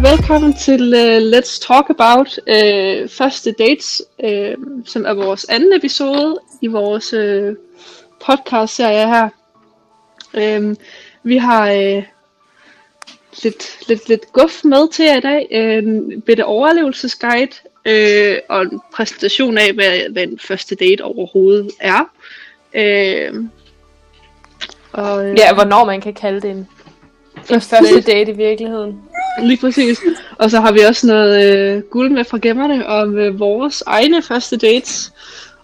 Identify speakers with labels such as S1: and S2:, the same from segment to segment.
S1: velkommen til uh, Let's Talk About uh, Første Dates, uh, som er vores anden episode i vores uh, podcast-serie her. Uh, vi har uh, lidt, lidt, lidt guf med til jer i dag. Uh, en bitte overlevelsesguide uh, og en præsentation af, hvad, hvad en første date overhovedet er. Uh, og, øh,
S2: Ja, hvornår man kan kalde det en, en Øhm. første date i virkeligheden.
S1: Lige præcis. Og så har vi også noget øh, guld med fra gemmerne om øh, vores egne første dates.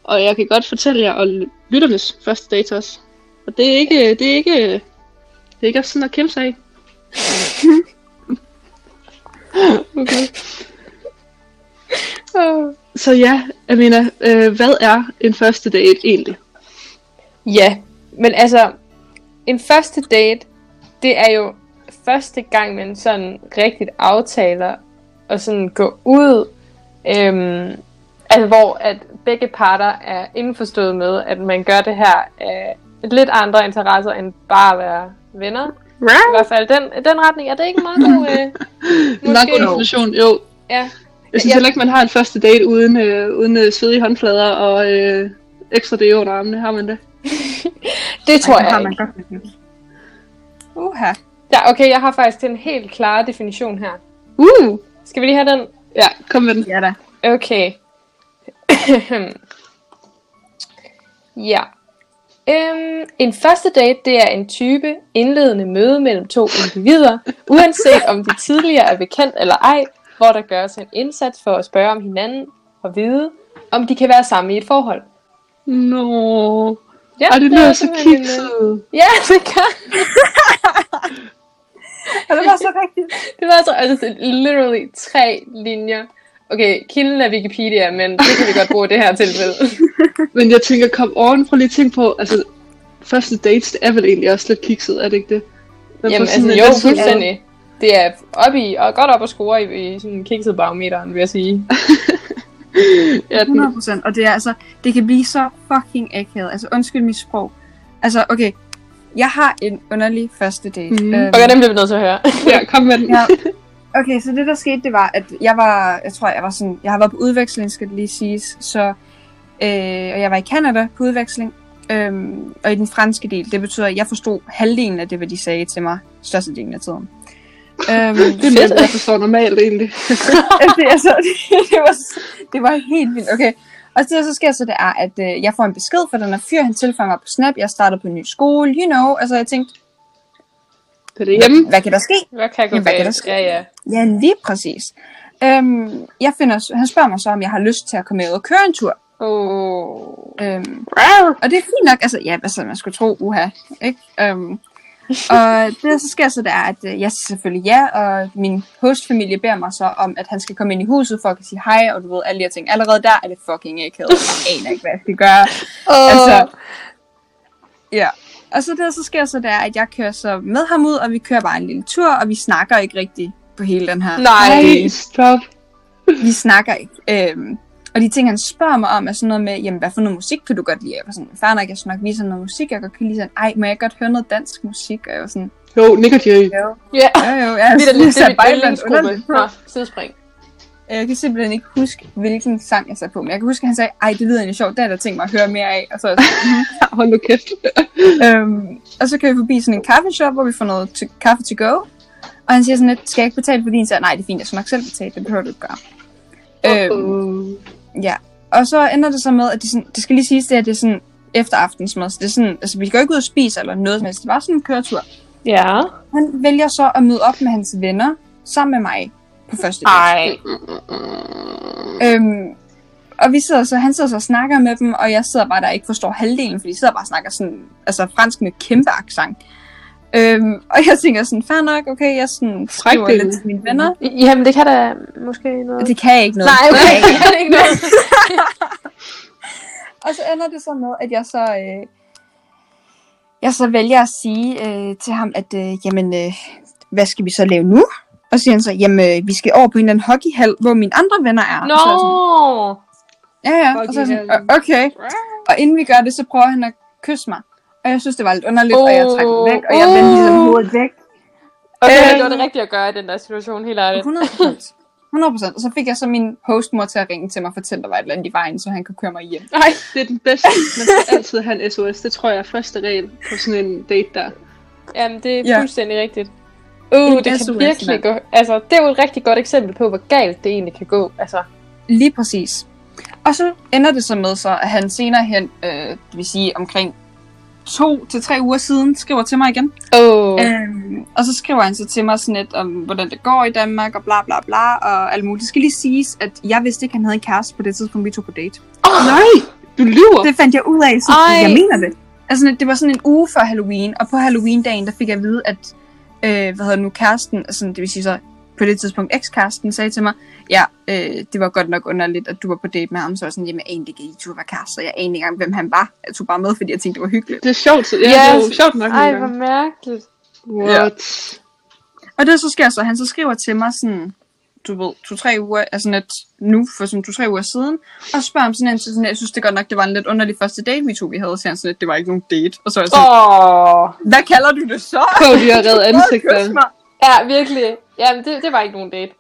S1: Og jeg kan godt fortælle jer om lytternes første dates også. Og det er ikke, det er ikke, det er ikke sådan at kæmpe sig af. okay.
S2: Øh.
S1: Så ja, Amina, øh, hvad er en første date egentlig?
S2: Ja, men altså, en første date, det er jo første gang, man sådan rigtigt aftaler og sådan går ud, øhm, altså hvor at begge parter er indforstået med, at man gør det her af lidt andre interesser end bare at være venner. I hvert fald den, den retning, er det ikke en meget god... Øh,
S1: Nok
S2: måske-
S1: definition, jo.
S2: ja.
S1: Jeg synes
S2: Ja.
S1: heller ikke, man har en første date uden, øh, uden øh, svedige håndflader og øh, ekstra deo under armene. Har man det?
S2: Det tror
S3: Ej,
S2: jeg
S3: har
S2: ikke.
S3: man godt med det. Uha.
S2: Ja, okay, jeg har faktisk den helt klare definition her.
S1: Uh!
S2: Skal vi lige have den?
S1: Ja, kom med den.
S3: Ja da.
S2: Okay. ja. Øhm, en første date, det er en type indledende møde mellem to individer, uanset om de tidligere er bekendt eller ej, hvor der gøres en indsats for at spørge om hinanden og vide, om de kan være sammen i et forhold.
S1: Nå.
S2: Ja,
S1: Ej, det
S2: der er
S1: lyder så
S2: simpelthen en, øh,
S1: kikset.
S2: Ja, det kan.
S3: Og det var så rigtigt.
S2: Det var altså, altså literally tre linjer. Okay, kilden er Wikipedia, men det kan vi godt bruge i det her tilfælde.
S1: Men jeg tænker, kom oven, prøv lige at tænke på, altså, første dates, det er vel egentlig også lidt kikset, er det ikke det? Man får
S2: Jamen
S1: sådan
S2: altså,
S1: en
S2: jo,
S1: lidt-
S2: fuldstændig. Det er op i, og godt op at score i, i sådan kikset barometeren, vil jeg sige.
S1: Ja, den,
S3: 100%. Og det er altså, det kan blive så fucking akavet. Altså, undskyld mit sprog. Altså, okay. Jeg har en underlig første date.
S1: Mhm.
S2: Okay, den bliver vi nødt til at høre.
S1: ja, kom med den.
S3: Ja. Okay, så det der skete, det var, at jeg var, jeg tror, jeg var sådan, jeg har været på udveksling, skal det lige siges, så, øh, og jeg var i Kanada på udveksling, øhm, og i den franske del, det betyder, at jeg forstod halvdelen af det, hvad de sagde til mig, størstedelen af tiden. øhm,
S1: Det er nemt, jeg forstår normalt egentlig.
S3: altså, det, er så, det, var, det var helt vildt. Okay. Og det, der så sker så, det er, at øh, jeg får en besked fra den her fyr, han tilføjer mig på Snap, jeg startede på en ny skole, you know, altså jeg tænkte,
S1: Det er det hjemme.
S3: hvad kan der ske?
S2: Hvad kan gå
S3: Jamen, hvad kan der
S2: galt?
S3: ske?
S2: Ja, ja.
S3: Ja, lige præcis. Øhm, jeg finder, han spørger mig så, om jeg har lyst til at komme med ud og køre en tur.
S2: Oh.
S3: Øhm, og det er fint nok, altså, ja, altså, man skulle tro, uha, ikke? Øhm, og det, der så sker så, det er, at øh, jeg siger selvfølgelig ja, og min hostfamilie beder mig så om, at han skal komme ind i huset for at kunne sige hej, og du ved, alle de her ting. Allerede der er det fucking akavet. Jeg aner ikke, hvad jeg skal gøre.
S2: Oh.
S3: Altså, ja. Og så det, der så sker så, det er, at jeg kører så med ham ud, og vi kører bare en lille tur, og vi snakker ikke rigtigt på hele den her
S2: Nej.
S1: Ej, stop.
S3: vi snakker ikke. Øhm, og de ting, han spørger mig om, er sådan noget med, jamen, hvad for noget musik kan du godt lide? Jeg var sådan, fair nok, jeg skal nok vise ham noget musik, jeg godt kan lide sådan, ej, må jeg godt høre noget dansk musik? Og jeg var sådan,
S1: Jo, Nick og Jerry.
S3: jo,
S2: Ja.
S3: jo, jo, jeg
S2: Det er da lidt
S3: er
S2: det, er
S3: sat
S2: mit
S3: bare et eller andet
S2: yndlingsgruppe.
S3: underligt på. Øh,
S2: Nå, sidespring.
S3: Jeg kan simpelthen ikke huske, hvilken sang jeg satte på, men jeg kan huske, at han sagde, ej, det lyder egentlig sjovt, det er der ting mig at høre mere af. Og så, var jeg sådan,
S1: Ja, Hold nu kæft.
S3: øhm, og så kører vi forbi sådan en kaffeshop, hvor vi får noget to, kaffe to go. Og han siger sådan lidt, skal jeg ikke betale for din? Så jeg, nej, det er fint, jeg skal nok selv betale, det behøver du ikke gøre. Øhm,
S1: Uh,
S3: Ja, og så ender det så med, at det, sådan, det skal lige siges, det, at det er sådan efter aftensmad. Så det er sådan, altså vi går ikke ud og spise eller noget som helst. Det var sådan en køretur.
S2: Ja.
S3: Han vælger så at møde op med hans venner sammen med mig på første date.
S2: Ej.
S3: Øhm, og vi sidder så, han sidder så og snakker med dem, og jeg sidder bare der og ikke forstår halvdelen, fordi de sidder bare og snakker sådan, altså fransk med kæmpe accent. Øhm, og jeg tænker sådan, fair nok, okay, jeg sådan skriver
S1: Trækdelen.
S3: lidt til mine venner.
S2: Jamen, det kan da måske noget.
S3: Det kan jeg ikke noget.
S2: Nej,
S3: Det
S2: okay,
S3: kan jeg ikke.
S2: det kan ikke noget.
S3: Og så ender det så med, at jeg så, øh, jeg så vælger at sige øh, til ham, at øh, jamen, øh, hvad skal vi så lave nu? Og så siger han så, jamen, øh, vi skal over på en eller anden hockeyhal, hvor mine andre venner er.
S2: Nå.
S3: Og så er jeg sådan, ja, ja. Og så er jeg
S1: Hockeyhallen.
S3: sådan, "Åh, okay. Og inden vi gør det, så prøver han at kysse mig. Og jeg synes, det var lidt underligt, oh, og jeg trækker mig ligesom væk, og jeg vendte ligesom hovedet væk.
S2: Okay, det var det rigtige at gøre i den der situation, helt ærligt.
S3: 100%. 100%. Og så fik jeg så min hostmor til at ringe til mig og fortælle, at der var et eller andet i vejen, så han kunne køre mig hjem.
S2: Nej,
S1: Det er den bedste. Man skal altid have en SOS. Det tror jeg er første regel på sådan en date der.
S2: jamen det er
S3: Ja.
S2: fuldstændig rigtigt. Uh,
S3: En
S2: det kan
S3: SOS,
S2: virkelig
S3: mand.
S2: gå. Altså, det er jo et rigtig godt eksempel på, hvor galt det egentlig kan gå. Altså,
S3: Lige præcis. Og så ender det så med, så, at han senere hen, øh, det vil sige omkring to til tre uger siden, skriver til mig igen.
S2: oh,
S3: Øhm, og så skriver han så til mig sådan lidt om, hvordan det går i Danmark, og bla bla bla, og alt muligt. Det skal lige siges, at jeg vidste ikke, at han havde en kæreste på det tidspunkt, vi tog på date.
S1: Nej! Du lyver!
S3: Det fandt jeg ud af, så
S2: Ej.
S3: jeg mener det. Altså, det var sådan en uge før Halloween, og på Halloween-dagen, der fik jeg at vide, at, øh, hvad hedder det nu, kæresten, altså, det vil sige så, på det tidspunkt ekskæresten sagde til mig, ja, øh, det var godt nok underligt, at du var på date med ham, så var jeg sådan, jamen, jeg anede ikke, at I to var kærester, jeg anede ikke engang, hvem han var. Jeg tog bare med, fordi jeg tænkte, det var hyggeligt.
S1: Det er sjovt. Ja, yes. det er jo sjovt nok
S2: Ej,
S1: nogle
S2: hvor
S1: gange.
S2: mærkeligt.
S1: What?
S3: Og det så sker så, han så skriver til mig sådan, du ved, to-tre uger, altså net nu, for sådan to-tre uger siden, og spørger om sådan en, så sådan, jeg synes det godt nok, det var en lidt underlig første date, vi to vi havde, så han sådan, lidt, det var ikke nogen date, og så er jeg sådan,
S2: Åh.
S3: hvad kalder du det så?
S1: Prøv lige at redde ansigter.
S3: Kys mig.
S2: Ja, virkelig. Jamen, det, det var ikke nogen date.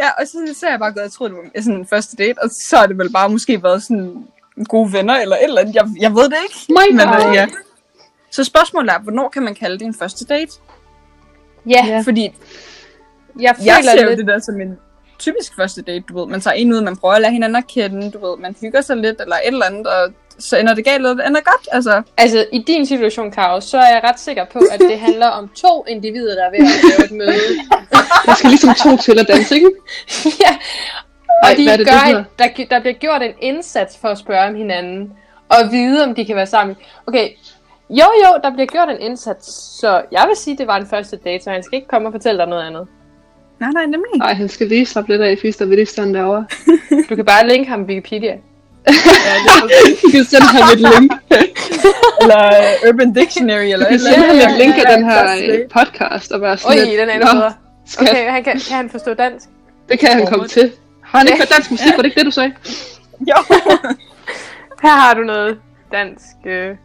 S3: Ja, og så, så er jeg bare gået, jeg troede, det var sådan en første date, og så har det vel bare måske været sådan gode venner, eller et eller andet, jeg, jeg ved det ikke.
S1: My
S3: Men,
S1: god!
S3: øh, ja. Så spørgsmålet er, hvornår kan man kalde det en første date?
S2: Ja,
S1: Ja.
S3: Fordi
S2: jeg føler
S3: Jeg ser jo
S2: lidt...
S3: det der som en typisk første date, du ved. Man tager en ud, man prøver at lade hinanden at kende, du ved. Man hygger sig lidt, eller et eller andet, og så ender det galt, eller det ender godt. Altså,
S2: Altså, i din situation, Karos, så er jeg ret sikker på, at det handler om to individer, der er ved at lave et møde.
S1: Der skal ligesom to til at danse, ikke?
S2: ja. Og
S1: Ej,
S2: de
S1: hvad er det, det
S2: gør,
S1: hedder?
S2: en- der, gi- der bliver gjort en indsats for at spørge om hinanden, og vide, om de kan være sammen. Okay, jo jo, der bliver gjort en indsats, så jeg vil sige, det var en første date, så han skal ikke komme og fortælle dig noget andet.
S3: nej, nej, nemlig.
S1: Nej, han skal lige slappe lidt af, hvis der vil det stand derovre.
S2: Du kan bare linke ham på Wikipedia.
S1: Vi kan sende ham et link.
S3: Eller øh, Urban Dictionary, eller
S1: Vi
S3: et
S1: kan
S3: eller
S1: sende ham et
S3: andet.
S1: link af den her
S3: Første
S1: øh,
S3: date.
S1: podcast og være sådan
S2: Oj,
S1: lidt,
S2: den er
S1: "Nå,
S2: endnu bedre.
S1: skat,
S2: Okay, han kan, kan han forstå dansk?
S1: det kan han komme til. Har han ikke hørt dansk musik? Var det ikke det, du sagde?
S3: Jo.
S2: Her har du noget dansk. Øh,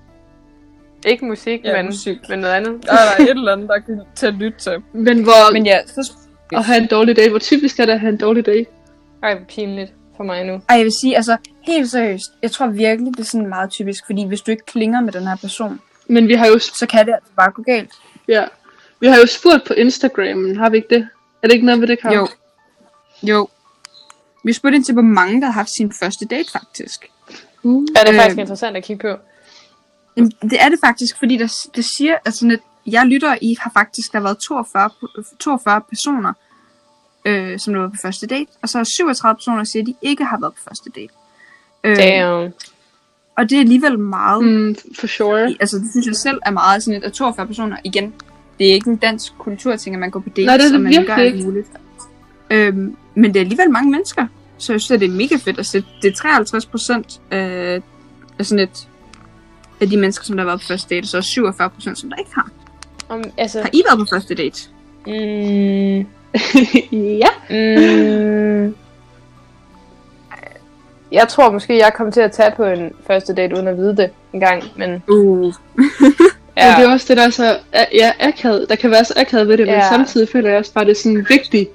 S2: ikke musik,
S3: Ja,
S2: men,
S3: musik.
S2: men noget andet.
S3: Eller et eller andet, der kan til at lytte til.
S1: Men hvor...
S3: Men ja, så...
S1: At have en dårlig dag. Hvor typisk er det at have en dårlig dag?
S2: Ej, hvor pinligt for mig nu.
S3: Ej, jeg vil sige, altså, helt seriøst. Jeg tror virkelig, det er sådan meget typisk, fordi hvis du ikke klinger med den her person,
S1: Men vi har jo
S3: så kan det altså bare gå galt.
S1: Ja. Vi har jo spurgt på Instagram, har vi ikke det? Er det ikke noget med det, Karen?
S3: Jo. Jo. Vi spurgte ind til, hvor mange, der har haft sin første date, faktisk.
S1: Uh.
S2: Ja, det er
S3: Øh.
S2: faktisk interessant at kigge på.
S1: øh.
S3: Jamen, det er det faktisk, fordi der, det siger, altså net, jeg lytter, I har faktisk, der har været 42, p- 42 personer, øh, som har været på første date, og så er 37 personer, der siger, at de ikke har været på første date. Øh,
S2: Damn.
S3: og det er alligevel meget, mm.
S1: Mm, for sure.
S3: altså det synes jeg selv er meget, sådan lidt, at 42 personer, igen, det er ikke en dansk kulturting, at man går på dates,
S1: Nej, det er det
S3: og man
S1: virkelig
S3: gør alt
S1: ikke.
S3: muligt. Øhm, men det er alligevel mange mennesker, så jeg synes, at det er mega fedt at se. Det er 53 procent øh, af sådan et, af de mennesker, som der har været på første date, så er 47 procent, som der ikke har.
S2: Om, altså,
S3: Har I været på første date?
S2: mm,
S1: ja.
S2: mm, jeg tror måske, jeg kom til at tage på en første date uden at vide det en gang, men
S3: Uh.
S1: ja. det
S2: ja,
S1: er også det, der er så a- ja, akavet. Der kan være så akavet ved det, ja. men
S2: Ja.
S1: samtidig føler jeg også bare, at det er sådan en vigtig,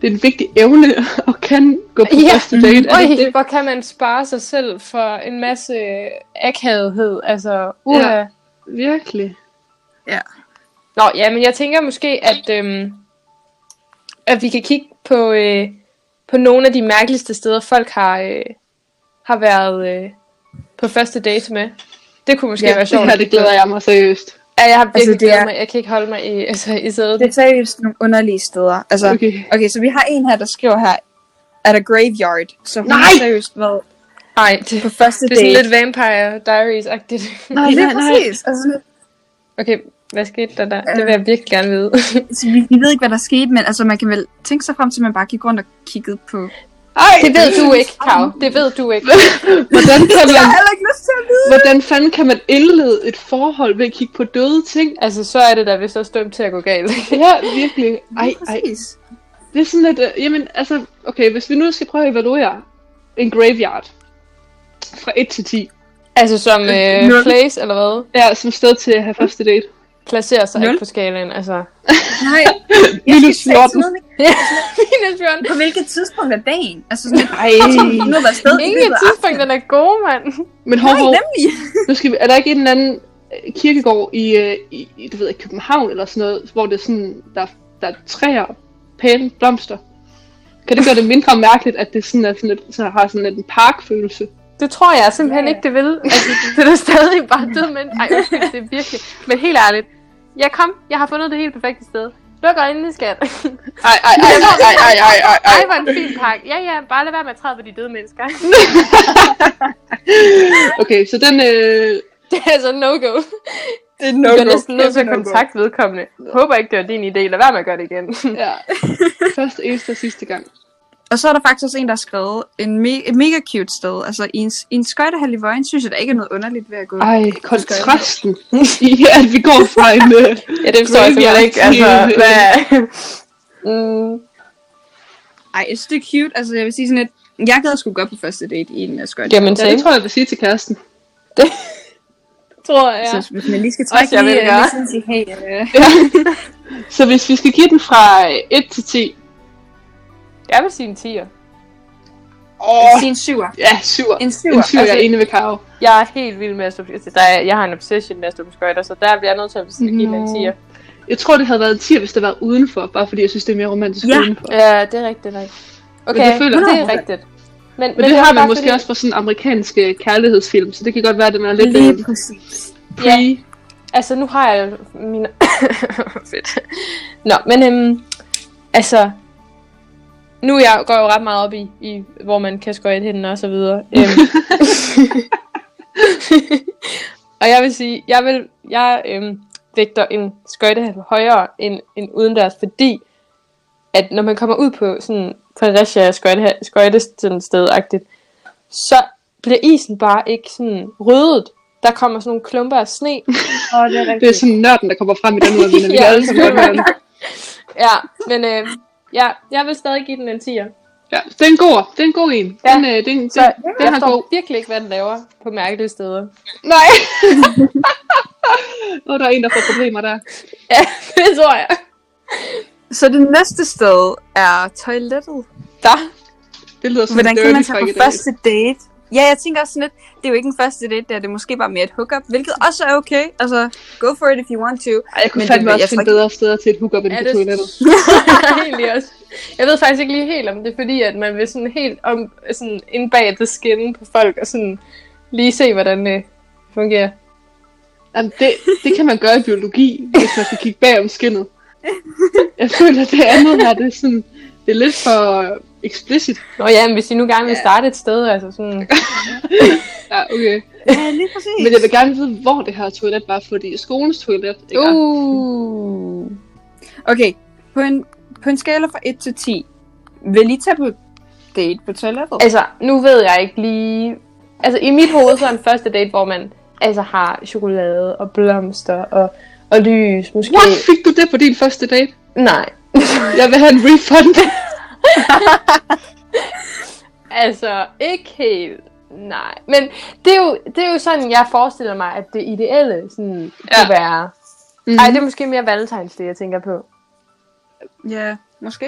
S1: det er en vigtig evne at kan gå på
S2: Ja.
S1: første date. Er det ikke
S2: Øj,
S1: det?
S2: hvor kan man spare sig selv for en masse akavethed, altså, uha.
S1: Ja. Virkelig.
S2: Nå, ja, men jeg tænker måske, at, øhm, at vi kan kigge på, øh, på nogle af de mærkeligste steder, folk har, øh, har været øh, på første date med. Det kunne måske ja,
S3: Ja,
S2: være sjovt.
S1: Det her, det glæder jeg mig seriøst.
S2: Ja, jeg har virkelig
S3: Altså,
S2: altså,
S3: det
S2: glædet
S3: er-
S2: mig. Jeg kan ikke holde mig i, altså, i sædet.
S3: Det er seriøst nogle underlige steder. Altså, okay.
S1: Okay.
S3: okay, så vi har en her, der skriver her, at a graveyard. Så hun
S1: Nej!
S3: har seriøst været
S2: Nej, det,
S3: på første
S2: det er
S3: date.
S2: sådan lidt Vampire Diaries-agtigt.
S1: Nej,
S3: det
S1: nej,
S3: er
S1: nej.
S3: præcis. Altså,
S2: Okay, hvad skete der der? Det vil jeg virkelig gerne vide.
S3: altså, vi, vi, ved ikke, hvad der skete, men altså, man kan vel tænke sig frem til, at man bare gik rundt og kiggede på...
S1: Ej,
S2: det ved du ikke, Kav. Det ved du ikke.
S1: hvordan, kan
S3: Jeg
S1: man,
S3: har heller ikke lyst til at vide!
S1: hvordan fanden kan man indlede et forhold ved at kigge på døde ting?
S2: Altså, så er det da vist også dømt til at gå galt.
S1: Ja, virkelig. Ej, ej,
S3: Præcis.
S1: Det er sådan lidt, øh, jamen altså, okay, hvis vi nu skal prøve at evaluere en graveyard fra 1 til 10,
S2: altså, som øh,
S3: Nul.
S2: place, eller hvad?
S1: ja, som sted til at have første date.
S2: placerer sig
S3: Nul.
S2: ikke på skalaen. Altså,
S3: Nej, jeg
S1: Minus
S3: skal sætte
S1: 14.
S3: sådan noget, ikke?
S2: minus 14.
S3: På hvilket tidspunkt af dagen? Altså sådan,
S1: Ej.
S3: nu har været sted i
S2: Ingen
S3: løbet af
S2: tidspunkt, den er god, mand.
S1: Men hov,
S3: Nej,
S1: hov,
S3: nemlig.
S1: nu skal vi, er der ikke en eller anden øh, kirkegård i, øh, i, i det ved jeg, København eller sådan noget, hvor det er sådan, der, der er træer og pæne blomster? Kan det gøre det mindre mærkeligt, at det sådan er sådan lidt, så har sådan lidt en parkfølelse?
S2: Det tror jeg simpelthen
S3: Ja, ja.
S2: ikke, det vil. Altså, det er da stadig bare død, men ej, undskyld, det er virkelig. Men helt ærligt, jeg kom, jeg har fundet det helt perfekte sted. Luk øjnene, skat.
S1: Ej, ej, ej, ej, ej, ej, ej, ej,
S2: Ej,
S1: ej.
S2: hvor en fin pakke. Ja, ja, bare lad være med at træde på de døde mennesker.
S1: Okay, så den, øh,
S2: Det er altså no-go.
S3: Det er
S2: Du er næsten nødt
S1: altså
S2: til at kontakte vedkommende. Håber ikke, det var din idé. Lad være med at gøre det igen.
S1: ja, første, eneste og sidste gang.
S3: Og så er der faktisk også en, der har skrevet en me- et mega cute sted. Altså i en, i en skøjtehal i Vøjen, synes jeg, der ikke er noget underligt ved at gå.
S1: Ej, kontrasten i, at vi går fra en... Øh,
S2: Ja, det
S1: forstår jeg simpelthen ikke. Altså, hvad-
S2: Mm,
S3: Ej, jeg synes, det er cute. Altså jeg vil sige sådan lidt, jeg gad sgu godt på første date i en uh, skøjtehal.
S2: jamen,
S1: ja, det tror jeg, jeg vil sige til kæresten.
S2: tror jeg.
S3: Så hvis man lige skal
S2: Også
S3: trække
S2: jeg
S3: lige,
S2: vil
S3: øh,
S2: gøre.
S3: lige sådan sige, hey, øh,
S1: Så hvis vi skal give den fra øh, 1 til 10,
S2: Jeg vil sige en 10'er.
S1: åh,
S3: sige en syver.
S1: ja, 7.
S3: En
S1: En
S3: syver. Altså-
S1: 7, jeg er enig med Karo.
S2: Jeg er helt vild med at stå på altså, der er, Jeg har en obsession med at stå på skøjter, så der bliver jeg nødt til at give den en
S1: Nå.
S2: 10'er.
S1: Jeg tror, det havde været en 10, hvis det var udenfor, bare fordi jeg synes, det er mere romantisk
S3: Ja.
S1: udenfor.
S2: Ja, det er rigtigt nok. Okay,
S1: det føler
S2: det
S1: jeg.
S2: er rigtigt. Men,
S1: Men, det,
S2: er
S1: har
S2: bare
S1: man måske også fra sådan amerikanske kærlighedsfilm, så det kan godt være, at den er lidt
S3: Lige
S1: øh,
S3: præcis.
S1: pre.
S2: Ja. Altså, nu har jeg mine... Fedt. Nå, men øhm, altså... Nu jeg går jeg jo ret meget op i, i hvor man kan skøjte henne og så videre. Øhm. og jeg vil sige, jeg vil, jeg øhm, vægter en skøjtehal højere end en udendørs, fordi at når man kommer ud på sådan Fredericia skøjte, skøjtested så bliver isen bare ikke sådan ryddet. Der kommer sådan nogle klumper af sne,
S3: Åh, oh, det er
S1: Det er sådan nørden, der kommer frem i den udvinding. Vi
S2: Ja,
S1: kan alle sammen godt høre den.
S2: Ja, men øh, ja, jeg vil stadig give den en 10'er.
S1: Ja, det er en god, det er en god en.
S2: Ja.
S1: Den, øh, den, den,
S2: Så
S1: den
S2: jeg
S1: har
S2: forstår
S1: god.
S2: virkelig ikke, hvad den laver på mærkelige steder.
S1: Nej. Nå, der er en, der får problemer der.
S2: Ja, det tror jeg.
S3: Så det næste sted er toilettet.
S2: Der.
S1: Det lyder som
S3: Hvordan
S1: en
S3: kan man
S1: dirty
S3: tage på
S1: frikadelle.
S3: første date? Ja, jeg tænker også sådan lidt, det er jo ikke en første date, det er, det er måske bare mere et hookup, hvilket også er okay. Altså, go for it if you want to.
S1: Ej, jeg kunne
S3: Men
S1: fandme
S3: det-
S1: også
S3: jeg
S1: finde
S3: tror ikke-
S1: bedre steder til et hookup end
S2: Ja,
S1: på
S2: det
S1: toilettet.
S2: er egentlig også. Jeg ved faktisk ikke lige helt om det, er fordi at man vil sådan helt om, sådan ind bag det skinne på folk og sådan lige se, hvordan det fungerer.
S1: Jamen, det, det kan man gøre i biologi, hvis man skal kigge bag om skinnet. Jeg føler, at det andet her, det er sådan... Det er lidt for explicit.
S2: Nå ja, men hvis I nu gerne vil starte et sted, altså sådan...
S1: Ja, okay.
S3: Ja, lige præcis.
S1: Men jeg vil gerne vide, hvor det her toilet var, fordi skolens toilet, ikke? Uh.
S2: Uh.
S3: Okay, på en, på en skala fra 1 til 10, vil I tage på date på toilettet?
S2: Altså, nu ved jeg ikke lige... Altså, i mit hoved så er en første date, hvor man altså har chokolade og blomster og, og lys, måske.
S1: What? Øh. Fik du det på din første date?
S2: Nej.
S1: Jeg vil have en refund.
S2: Altså, ikke helt. Nej. Men det er, jo, det er jo sådan, jeg forestiller mig, at det ideelle sådan, ja. kunne være.
S1: Mm.
S2: Nej, det er måske mere valentines, det jeg tænker på.
S3: Ja, måske.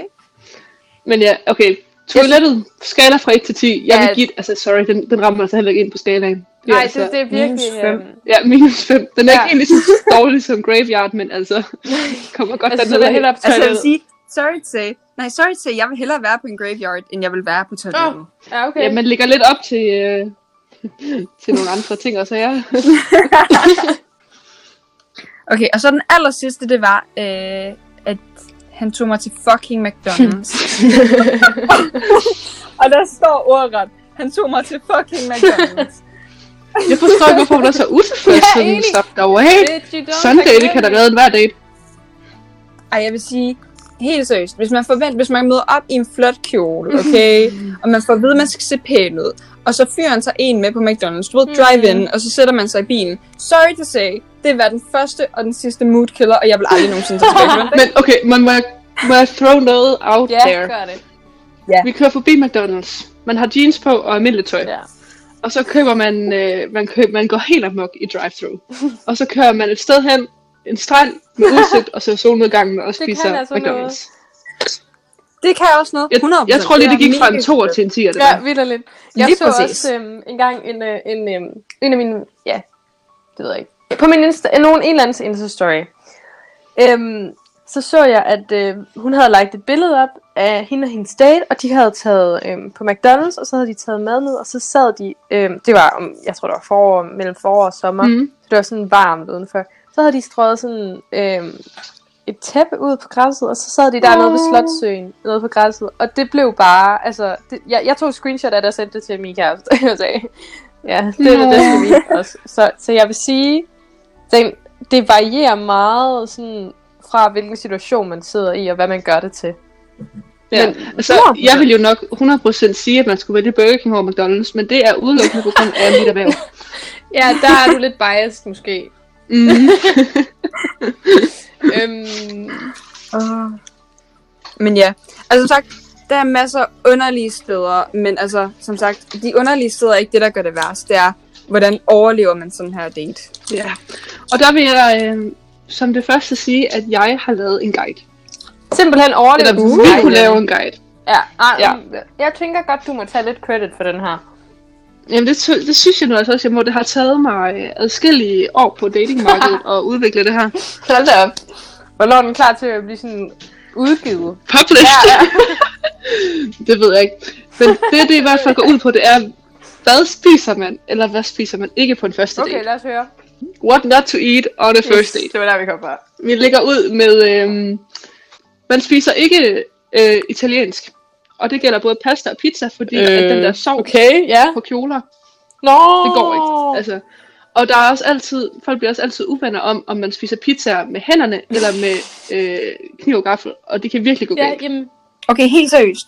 S1: Men ja, okay. Toilettet, skala fra 1 til 10. Jeg
S2: Ja.
S1: vil give... Altså, sorry, den, den rammer altså heller ikke ind på skalaen. er
S2: Nej,
S1: altså,
S2: det, det er
S3: minus
S2: virkelig...
S3: fem.
S2: øhm,
S1: Ja, minus 5. Den er
S2: Ja.
S1: ja. ikke egentlig så dårlig som Graveyard, men altså... Kommer godt
S2: Altså, så
S1: altså,
S2: vil jeg
S1: dernede.
S2: hellere op
S3: Altså, jeg vil
S2: toilettet.
S3: sige, sorry to say, nej, sorry to say, jeg vil hellere være på en graveyard, end jeg vil være på toilettet.
S2: Åh. Ja, okay.
S1: Ja, man ligger lidt op til, øh, til nogle andre ting også, ja.
S3: Okay, og så den aller sidste, det var, øh, at han tog mig til fucking McDonald's. og der står ordret, han tog mig til fucking McDonald's.
S1: Jeg forstår ikke, hvorfor hun er så utilfreds,
S2: Jeg er
S1: sådan
S2: enig.
S1: stop derovre. Hey,
S2: Bitch, you don't
S1: sådan date
S2: forget
S1: kan der
S2: me.
S1: redde en hver date.
S3: Ej, jeg vil sige, helt seriøst, hvis man forventer, hvis man møder op i en flot kjole, okay, og man får at vide, at man skal se pæn ud, og så fyrer han sig en med på McDonald's, du ved, drive-in, og så sætter man sig i bilen. Sorry to say, det var den første og den sidste mood killer, og jeg vil aldrig nogensinde tage tilbage. til
S1: Men okay, man må, jeg- må jeg throw noget out
S2: Ja,
S1: there.
S2: gør det.
S1: Vi kører forbi McDonald's. Man har jeans på og almindeligt tøj.
S2: Ja.
S1: Og så køber man, øh, man, køb, man går helt amok i drive thru Og så kører man et sted hen, en strand med udsigt og ser solnedgangen og spiser
S2: altså
S1: McDonald's.
S2: noget.
S3: Det kan også noget.
S1: Jeg,
S3: 100%.
S1: jeg tror lige, det gik
S3: er
S1: fra en
S3: mega
S1: toer
S3: fedt.
S1: til en tiger. Det
S2: Ja,
S1: der.
S2: vildt lidt. Jeg
S3: Lige
S2: så
S3: præcis.
S2: også øhm, engang en, øh, en, øhm, en af mine... Ja, det ved jeg ikke. På min Insta, nogen, en eller andens Insta-story. Øhm, så så jeg, at øh, hun havde lagt et billede op af hende og hendes date, og de havde taget øhm, på McDonald's, og så havde de taget mad ned, og så sad de... Øhm, det var, om, jeg tror, det var forår, mellem forår og sommer.
S1: Mm.
S2: Så det var sådan varmt udenfor. Så havde de strøget sådan øh, et tæppe ud på græsset, og så sad de dernede ved
S1: Åh.
S2: Slotsøen, nede på græsset. Og det blev bare, altså, det, jeg, jeg tog et screenshot af det og sendte det til min kæreste. Jeg sagde, ja, det er det
S1: Nå.
S2: bedste vi også. Så, så jeg vil sige, den, det varierer meget sådan, fra hvilken situation man sidder i, og hvad man gør det til.
S1: Ja.
S2: Men
S1: Altså,
S2: 100%.
S1: jeg vil jo nok 100% sige, at man skulle vælge Burger King over McDonald's, men det er udelukkende på grund af mit erhverv.
S2: Ja, der er du lidt biased måske.
S1: Mm.
S2: øhm,
S3: Åh. Ah. Men ja, altså som sagt, der er masser af underlige steder, men altså som sagt, de underlige steder er ikke det, der gør det værst. Det er, hvordan overlever man sådan her date?
S1: Ja. Og der vil jeg øh, som det første sige, at jeg har lavet en guide.
S2: simpelthen overleve.
S1: Eller vi
S2: Ej,
S1: kunne
S2: ja.
S1: lave en guide.
S2: Ja, ej,
S1: Ja.
S2: ja. jeg tænker godt, du må tage lidt credit for den her.
S1: Jamen det, ty- det synes jeg nu altså også, jeg må. Det har taget mig øh, adskillige år på datingmarkedet at udvikle det her.
S2: Hold da op. Hvornår er den klar til at blive sådan udgivet?
S1: Publish!
S2: ja.
S1: det ved jeg ikke. Men det, det i hvert fald går ud på, det er, hvad spiser man, eller hvad spiser man ikke på en første date?
S2: Okay, lad os høre.
S1: What not to eat on a first date.
S2: Det var der, vi kom fra.
S1: Vi ligger ud med, øhm, man spiser ikke øh, italiensk. Og det gælder både pasta og pizza, fordi øh, at den der sovs okay.
S2: ja.
S1: på kjoler,
S2: Nå!
S1: det går ikke. Altså, og der er også altid, folk bliver også altid uvenner om, om man spiser pizza med hænderne, eller med øh, kniv og gaffel. Og det kan virkelig gå
S2: Ja,
S1: galt.
S2: jamen.
S3: Okay, helt seriøst.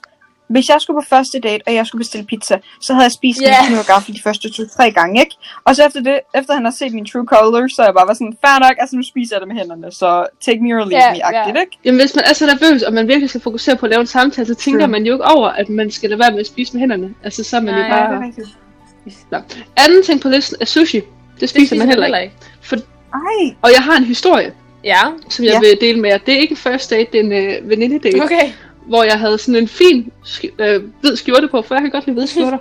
S3: Hvis jeg skulle på første date, og jeg skulle bestille pizza, så havde jeg spist yeah.
S2: Ja.
S3: min kniv og gaffel de første to-tre gange, ikke? Og så efter det, efter han har set min true color, så er jeg bare var sådan, fair nok, altså nu spiser jeg det med hænderne, så take me or leave
S2: Ja,
S3: yeah,
S2: ja.
S3: me-agtigt, yeah. ikke?
S1: Jamen, hvis man er så nervøs, og man virkelig skal fokusere på at lave en samtale, så tænker
S3: True.
S1: man jo ikke over, at man skal lade være med at spise med hænderne. Altså, så er man
S2: Nej,
S1: jo
S2: Ja.
S1: bare... Anden ting på listen er sushi. Det spiser, det spiser man heller ikke.
S2: ikke.
S3: Ej,
S1: Og jeg har en historie.
S2: Ja,
S1: som jeg
S3: Ja.
S1: ja. vil dele med jer. Det er ikke en first date, det er en øh, veninde-date, okay.
S2: okay.
S1: hvor jeg havde sådan en fin sk- øh, hvid skjorte på, for jeg kan godt lide hvide skjorter.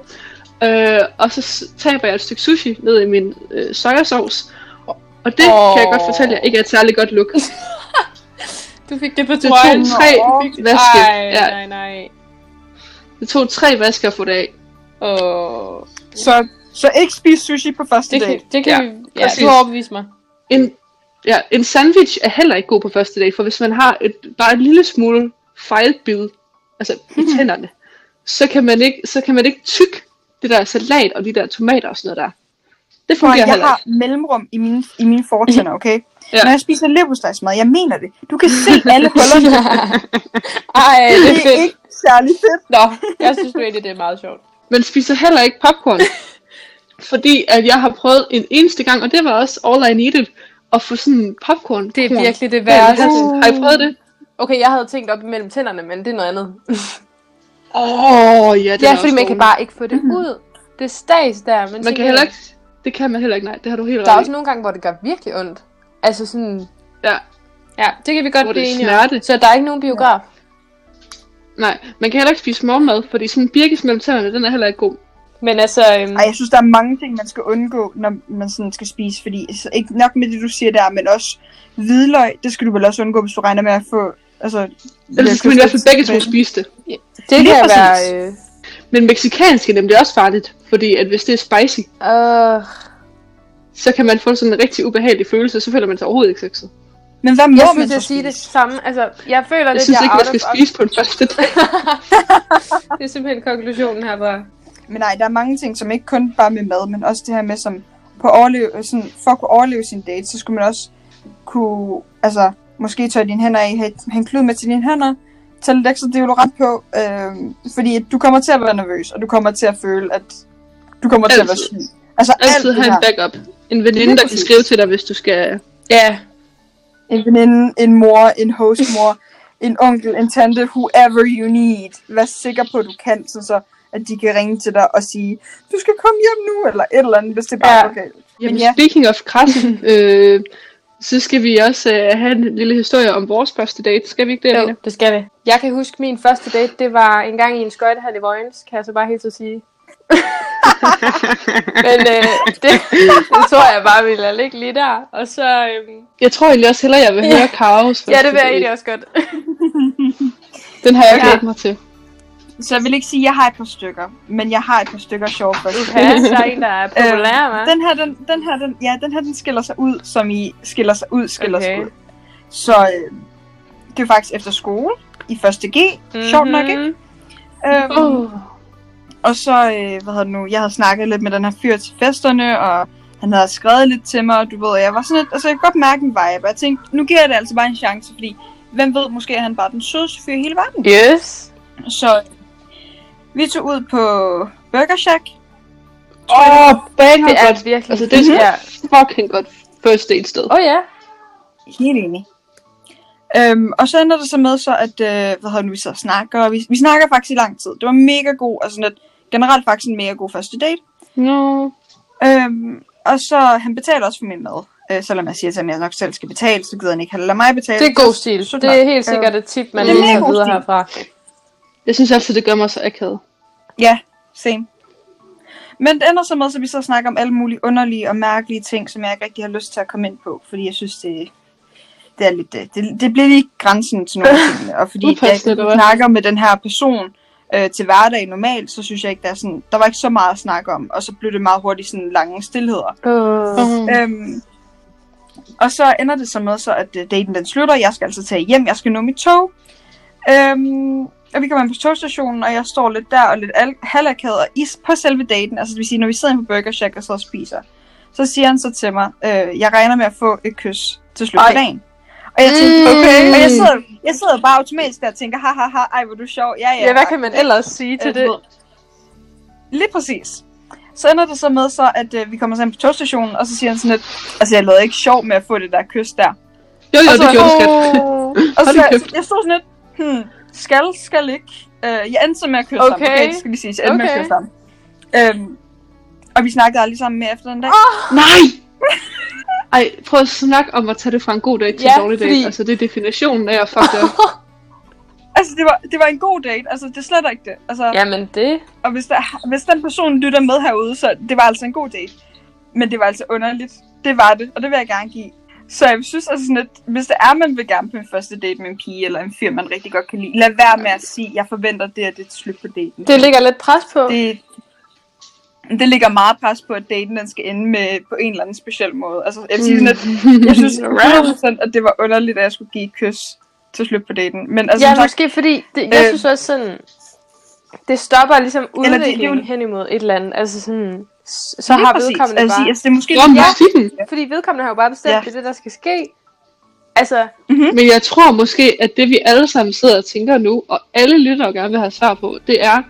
S1: øh, og så s- taber jeg et stykke sushi ned i min øh, sojasauce, og, og det oh. kan jeg
S2: Åh.
S1: godt fortælle jer ikke er et særligt godt look.
S2: Du fik det på
S1: Det
S2: trøjen.
S1: tog tre vaske.
S2: Ej,
S1: Ja,
S2: nej, nej.
S1: det tog tre vasker at få det af.
S2: Åh.
S3: så, så ikke spise sushi på første
S2: Det kan,
S3: date.
S2: det kan
S1: Ja,
S2: vi... Ja,
S1: præcis.
S2: du har overbevist mig.
S1: En, ja, en sandwich er heller ikke god på første date, for hvis man har et, bare en lille smule fejlbid, altså i
S3: Mhm.
S1: tænderne, så kan man ikke, så kan man ikke tykke det der salat og de der tomater og sådan noget der. Det
S3: Prøv, at-
S1: fungerer
S3: jeg
S1: heller
S3: har mellemrum i mine, i mine fortænder, okay?
S1: Ja.
S3: Når jeg spiser leverpostejsmad, jeg mener det. Du kan se alle hullerne.
S2: Ej, det er
S3: det er
S2: fedt.
S3: ikke særlig fedt.
S1: Mm.
S2: Nå, jeg synes nu egentlig, det er meget sjovt.
S1: men spiser heller ikke popcorn. fordi at jeg har prøvet en eneste gang, og det var også all I needed, at få sådan popcorn.
S2: Det er virkelig det værste.
S1: værste. Har I prøvet det?
S2: Okay, jeg havde tænkt op imellem tænderne, men det er noget andet.
S1: Åh, oh, ja, det
S2: Ja,
S1: er også
S2: fordi man kan
S1: dårligt.
S2: bare ikke få det ud. Det er stas der.
S1: Man
S2: Men tænker
S1: kan
S2: jeg,
S1: heller ikke... Det kan man heller ikke, nej. Det har du helt
S2: Der er
S1: ret i.
S2: også nogle gange, hvor det gør virkelig ondt. Altså sådan...
S1: Ja.
S2: Ja, det kan vi godt
S1: Hvor det
S2: blive
S1: er
S2: enige om.
S1: smerte.
S2: Så der er ikke nogen biograf.
S1: Nej, man kan heller ikke spise morgenmad, fordi sådan en birkes mellem tænderne, den er heller ikke god.
S2: Men altså... Øhm,
S3: Ej, jeg synes, der er mange ting, man skal undgå, når man sådan skal spise. Fordi så ikke nok med det, du siger der, men også hvidløg, det skal du vel også undgå, hvis du regner med at få... Altså,
S1: Ellers skal man i hvert fald begge to spise det.
S2: det
S3: lige
S2: kan
S3: præcis.
S2: være... Øh,
S1: Men mexikansk er nemlig også farligt, fordi at hvis det er spicy,
S2: øh,
S1: så kan man få sådan en rigtig ubehagelig følelse, og så føler man sig overhovedet ikke sexet.
S3: Men hvad må
S2: jeg
S3: man
S2: synes,
S3: så
S2: jeg siger
S3: spise?
S2: det samme. Altså, jeg føler
S1: Jeg
S2: lidt,
S1: synes
S2: jeg
S1: ikke,
S2: er
S1: man
S2: out
S1: skal
S2: of op-
S1: spise på en første dag.
S2: Det er simpelthen konklusionen her, bare.
S3: Men nej, der er mange ting, som ikke kun bare med mad, men også det her med, som på overleve, sådan, for at kunne overleve sin date, så skulle man også kunne, altså, måske tørre dine hænder af, have, have en klud med til dine hænder, tage lidt ekstra deodorant på, øh, fordi at du kommer til at være nervøs, og du kommer til at føle, at du kommer til at være
S1: Altid.
S3: syg. Altså
S1: Altid
S3: alt det
S1: have en
S3: her.
S1: backup. En veninde,
S3: Lige
S1: der kan
S3: præcis.
S1: skrive til dig, hvis du skal...
S2: Ja.
S3: En veninde, en mor, en hostmor, en onkel, en tante, whoever you need. Vær sikker på, at du kan, sådan så at de kan ringe til dig og sige, du skal komme hjem nu, eller et eller andet, hvis det bare
S2: Ja.
S3: er okay.
S1: Jamen,
S3: ja.
S1: ja. speaking of krasse, øh, Så skal vi også øh, have en lille historie om vores første date. Skal vi ikke det,
S2: Jo,
S1: Alina?
S2: det skal vi. Jeg kan huske, min første date, det var en gang i en skøjtehal i Vojens, kan jeg så bare helt så sige. Men øh, det, det tror jeg bare, vi lader ligge lige der. Og så, øhm,
S1: Jeg tror egentlig også hellere, jeg vil
S2: Ja.
S1: høre Karos
S2: ja, det vil jeg egentlig også godt.
S1: Den har jeg
S3: Ja.
S1: glædet mig til.
S3: Så jeg vil ikke sige, at jeg har et par stykker, men jeg har et par stykker sjove først.
S2: Ja, der er en, der er populær, hva'?
S3: Øhm, Den her, den, den her, den, ja, den her, den skiller sig ud, som i skiller sig ud, skiller okay. sig
S2: Okay.
S3: ud. Så øh, det er faktisk efter skole, i 1.G, mm-hmm. sjovt nok, ikke?
S2: Mhm.
S3: Øhm,
S1: Oh.
S3: Og så, øh, hvad hedder det nu, jeg havde snakket lidt med den her fyr til festerne, og han havde skrevet lidt til mig, og du ved, og jeg var sådan lidt, altså jeg kunne godt mærke en vibe, og jeg tænkte, nu giver jeg det altså bare en chance, fordi hvem ved, måske er han bare den sødeste fyr i hele verden.
S2: Yes.
S3: Så øh, vi tog ud på Burger Shack.
S1: Åh, oh, banger
S2: Det
S1: godt.
S2: er virkelig
S1: Altså, det er
S2: fedt, ja.
S1: sådan fucking godt first date sted.
S2: Åh oh, ja.
S3: Helt enig. Øhm, og så ender det så med så, at øh, hvad hedder det nu, vi sidder og snakker, og vi, vi snakker faktisk i lang tid. Det var mega god, altså sådan lidt, generelt faktisk en mega god første date.
S1: No.
S3: Øhm, og så, han betaler også for min mad. Øh, selvom jeg siger til ham, at jeg nok selv skal betale, så gider han ikke, han lader mig betale.
S2: Det er god stil.
S3: Sødt
S2: Det
S3: nok.
S2: er helt sikkert et tip, man
S1: Det er
S2: lige
S3: mega
S2: tager
S3: god
S2: videre
S3: stil.
S2: herfra.
S1: Jeg synes altid, det gør mig så akavet.
S3: Ja, same. Men det ender så med, så vi så snakker om alle mulige underlige og mærkelige ting, som jeg ikke rigtig har lyst til at komme ind på, fordi jeg synes, det, det er lidt, øh, det, det bliver lige grænsen til nogle ting, og fordi jeg
S1: Upassende, eller hvad?
S3: ikke snakker med den her person øh, til hverdag normalt, så synes jeg ikke, der er sådan, der var ikke så meget at snakke om, og så blev det meget hurtigt sådan lange stillheder.
S2: Uh.
S1: Mm.
S3: Øhm, og så ender det så med, så at øh, daten den slutter. Jeg skal altså tage hjem. Jeg skal nå mit tog. Øhm, og vi kommer ind på togstationen, og jeg står lidt der og lidt al- halakavet og is på selve daten. Altså det vil sige, når vi sidder inde på Burger Shack og så spiser, så siger han så til mig, øh, jeg regner med at få et kys til slut
S2: Ej.
S3: af dagen. Og jeg tænkte,
S2: Mm.
S3: okay. Og jeg sidder, jeg sidder bare automatisk der og tænker, ha ha ha, ej hvor du er sjov. Ja, ja,
S2: Ja, hvad
S3: tak."
S2: kan man ellers sige til det?
S3: Lige præcis. Så ender det så med, så, at øh, vi kommer sammen på togstationen, og så siger han sådan lidt, altså jeg lavede ikke sjov med at få det der kys der.
S1: Jo, jo,
S3: Og så-
S1: det gjorde det, skat.
S2: Oh.
S3: Og så,
S1: Hold da kæft.
S3: så jeg stod sådan lidt, hmm, skal, skal ikke. Øh, jeg endte så med at kysse ham.
S2: Okay.
S3: Okay, det skal lige sige, jeg endte okay. med
S2: Okay.
S3: at kysse ham. Øhm, og vi snakkede aldrig sammen mere efter den dag.
S1: Nej! Ej, prøv at snakke om at tage det fra en god dag til
S2: Ja,
S1: en dårlig dag.
S2: fordi-
S1: Altså, det er definitionen af at fuck det op.
S3: Altså, det var, det var en god date. Altså, det er slet ikke det. Altså, ja.
S2: Jamen det.
S3: Og hvis, der, hvis den person lytter med herude, så det var altså en god date. Men det var altså underligt. Det var det, og det vil jeg gerne give. Så jeg synes altså sådan lidt, hvis det er, man vil gerne på en første date med en pige, eller en fyr, man rigtig godt kan lide, lad være med at sige, jeg forventer det, og det er til slut på daten.
S2: Det ligger lidt pres på.
S3: det, det ligger meget pres på, at daten den skal ende med på en eller anden speciel måde. Altså, jeg, vil sige sådan, at, jeg synes
S2: Mm.
S3: 100% at det var underligt, at jeg skulle give et kys til slut på daten. Men altså,
S2: ja,
S3: ja, sagt,
S2: måske fordi, det, jeg
S3: Øh.
S2: synes også sådan, det stopper ligesom
S3: det- det er jo-
S2: udviklingen hen imod et eller andet. Altså sådan, s- så
S3: lige
S2: har
S3: præcis.
S2: vedkommende
S3: altså,
S2: bare...
S3: altså, det er måske...
S1: Hvor er musikken?
S2: Fordi vedkommende har jo bare bestemt,
S3: Ja.
S2: det er det, der skal ske. Altså,
S1: Men jeg tror måske, at det vi alle sammen sidder og tænker nu, og alle lytter og gerne vil have svar på, det er,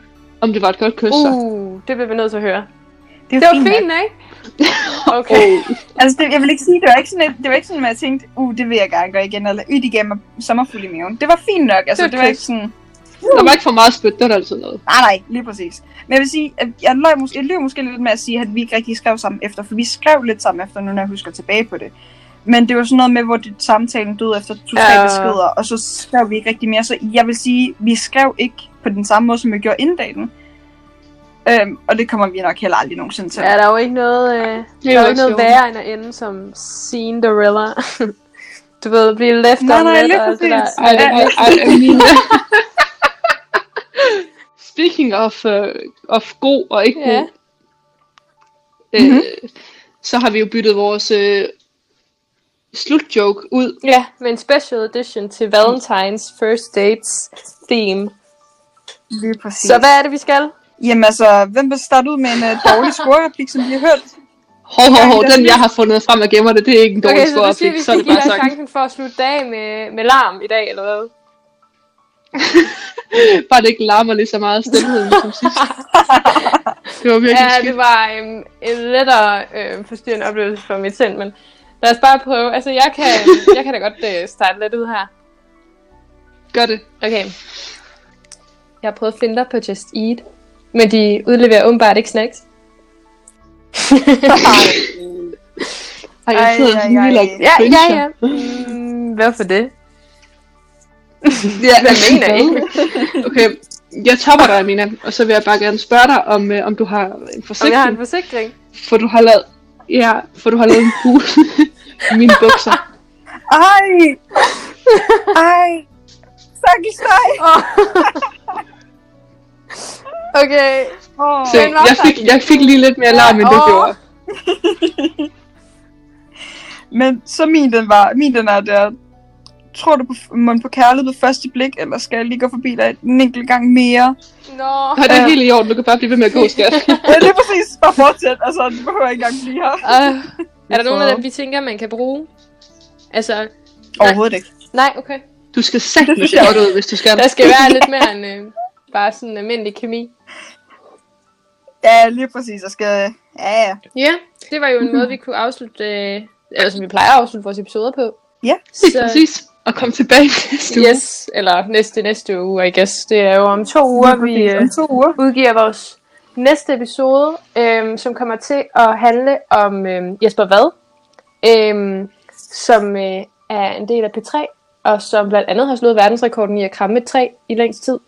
S1: om det var et godt kys. så.
S2: uh, det bliver vi nødt til at høre.
S3: det er
S2: Det
S3: jo
S2: var fint, ikke? Okay.
S1: Åh,
S3: Altså, det, jeg vil ikke sige, det var ikke sådan, at, det var ikke sådan, at jeg tænkte, uh, det vil jeg gerne gøre igen, eller y, de gav mig sommerfuld i maven. Det var fint nok, altså,
S2: Det var
S3: det, var
S2: kys.
S3: ikke sådan...
S1: Der var ikke for meget spyt, det var der altid noget.
S3: Nej, nej, lige præcis. Men jeg vil sige, at jeg løg, mås- jeg løg måske lidt med at sige, at vi ikke rigtig skrev sammen efter, for vi skrev lidt sammen efter, nu når jeg husker tilbage på det. Men det var sådan noget med, hvor det, samtalen døde efter to-tre
S2: Ja.
S3: uh... beskeder, og så skrev vi ikke rigtig mere. Så jeg vil sige, vi skrev ikke på den samme måde, som vi gjorde inden dagen. Øhm, og det kommer vi nok heller aldrig nogensinde til.
S2: Ja, der er jo ikke noget, øh,
S1: Det
S2: der
S1: er
S2: er
S1: jo
S2: jo ikke noget
S1: også
S2: værre end at ende som Cinderella. du ved, blive left
S3: Nej,
S2: on
S3: nej,
S2: red
S3: lige
S2: og alt det
S3: præcis.
S2: der.
S1: Ej, ej, ej, Amina. Speaking of, uh, of god og
S3: Mm.
S1: ikke
S2: Ja.
S1: god, øh, mm-hmm. så har vi jo byttet vores øh, slutjoke ud.
S2: Ja, med en special edition til Valentine's First Dates theme.
S3: Lige præcis.
S2: Så hvad er det, vi skal?
S3: Jamen altså, hvem vil starte ud med en uh, dårlig scorereplik, som vi har hørt?
S1: Hov, hov, hov,
S3: Ja, det er
S1: den jeg har fundet frem og gemmer det, det er ikke en dårlig
S2: Okay,
S1: okay,
S2: så du siger,
S1: skoreplik, så, så
S2: vi
S1: er det
S2: skal give
S1: bare
S2: dig
S1: sagt.
S2: chancen for at slutte dag med, med larm i dag, eller hvad?
S1: Bare det ikke larmer lige så meget af stilheden som sidst. Det var virkelig
S2: Ja,
S1: skidt.
S2: det var øhm, en lettere øhm, forstyrrende oplevelse for mit sind, men lad os bare prøve. Altså, jeg kan, jeg kan da godt øh, starte lidt ud her.
S1: Gør det.
S2: Okay. Jeg har prøvet Flinder på Just Eat, men de udleverer åbenbart ikke snacks.
S1: Ej, jeg
S3: Ej,
S1: sidder
S3: ej,
S1: sådan
S3: ej.
S1: lige lagt
S2: Ja, ja, ja. Mm, hvorfor det?
S1: ja
S2: Hvad mener I?
S1: Okay, jeg topper dig, Mina, og så vil jeg bare gerne spørge dig, om, øh, om du har en
S2: Om
S1: forsikring,
S2: jeg har
S1: har...
S2: en forsikring?
S1: for du har lavet, ja, for du har lavet en hul i mine bukser.
S3: Ej! Ej! Stakkels dig!
S2: Åh. okay.
S3: Oh.
S1: Så
S2: Men hvad
S1: jeg
S2: så?
S1: fik, jeg fik lige lidt mere larm, end du
S2: Åh.
S1: gjorde.
S3: Men så min den var, min den er der, tror du på, f- mon på kærlighed ved første blik, eller skal jeg lige gå forbi dig en enkelt gang mere?
S2: Nå.
S1: Og det er
S3: Ja.
S1: helt i orden, du kan bare blive ved med at gå, skat.
S3: Ja, lige præcis, bare fortsæt, altså du behøver ikke engang blive her.
S2: Uh, er der nogen af dem, vi tænker, man kan bruge? Altså,
S3: Overhovedet ikke.
S2: nej, okay.
S1: Du skal sætte mig sjovt ud, hvis du skal.
S2: Der skal være lidt mere end øh, bare sådan en almindelig kemi.
S3: Ja, lige præcis, jeg skal, ja ja.
S2: Ja, det var jo en måde, vi kunne afslutte, øh, eller som vi plejer at afslutte vores episoder på.
S3: Ja,
S1: Lige præcis. Og kom tilbage næste uge.
S2: øh, Yes, eller næste næste uge, I guess. Det er jo om to uger,
S3: Lige
S2: vi
S3: præcis.
S2: øh,
S3: Om to uger.
S2: udgiver vores næste episode, øh, som kommer til at handle om øh, Jesper Vad, øh, som øh, er en del af P3, og som blandt andet har slået verdensrekorden i at kramme et træ i længst tid.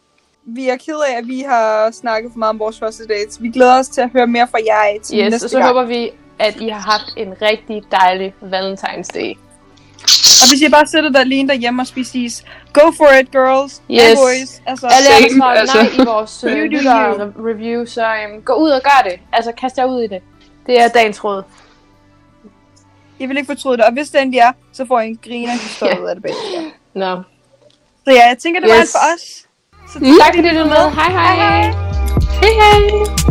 S3: Vi er ked af, at vi har snakket for meget om vores første dates. Vi glæder os til at høre mere fra jer i til
S2: Yes,
S3: næste
S2: og så
S3: gang.
S2: håber vi, at I har haft en rigtig dejlig Valentine's Day.
S3: Og hvis I bare sidder der alene derhjemme og spiser is, go for it, girls
S2: Yes.
S3: and boys. Altså,
S2: Alle jer, der
S1: Same,
S2: svarer
S1: altså.
S2: nej i vores øh,
S3: You do you.
S2: lytter review, så øhm, gå ud og gør det. Altså, kast jer ud i det. Det er dagens råd.
S3: I vil ikke fortryde det. Og hvis det endelig er, så får I en griner, de står ud af det bag.
S2: Nå.
S3: Så ja, jeg tænker, det var
S2: Yes. Mm.
S3: alt for os. Så
S2: Tak fordi du lyttede med. Hej hej. Hej hej.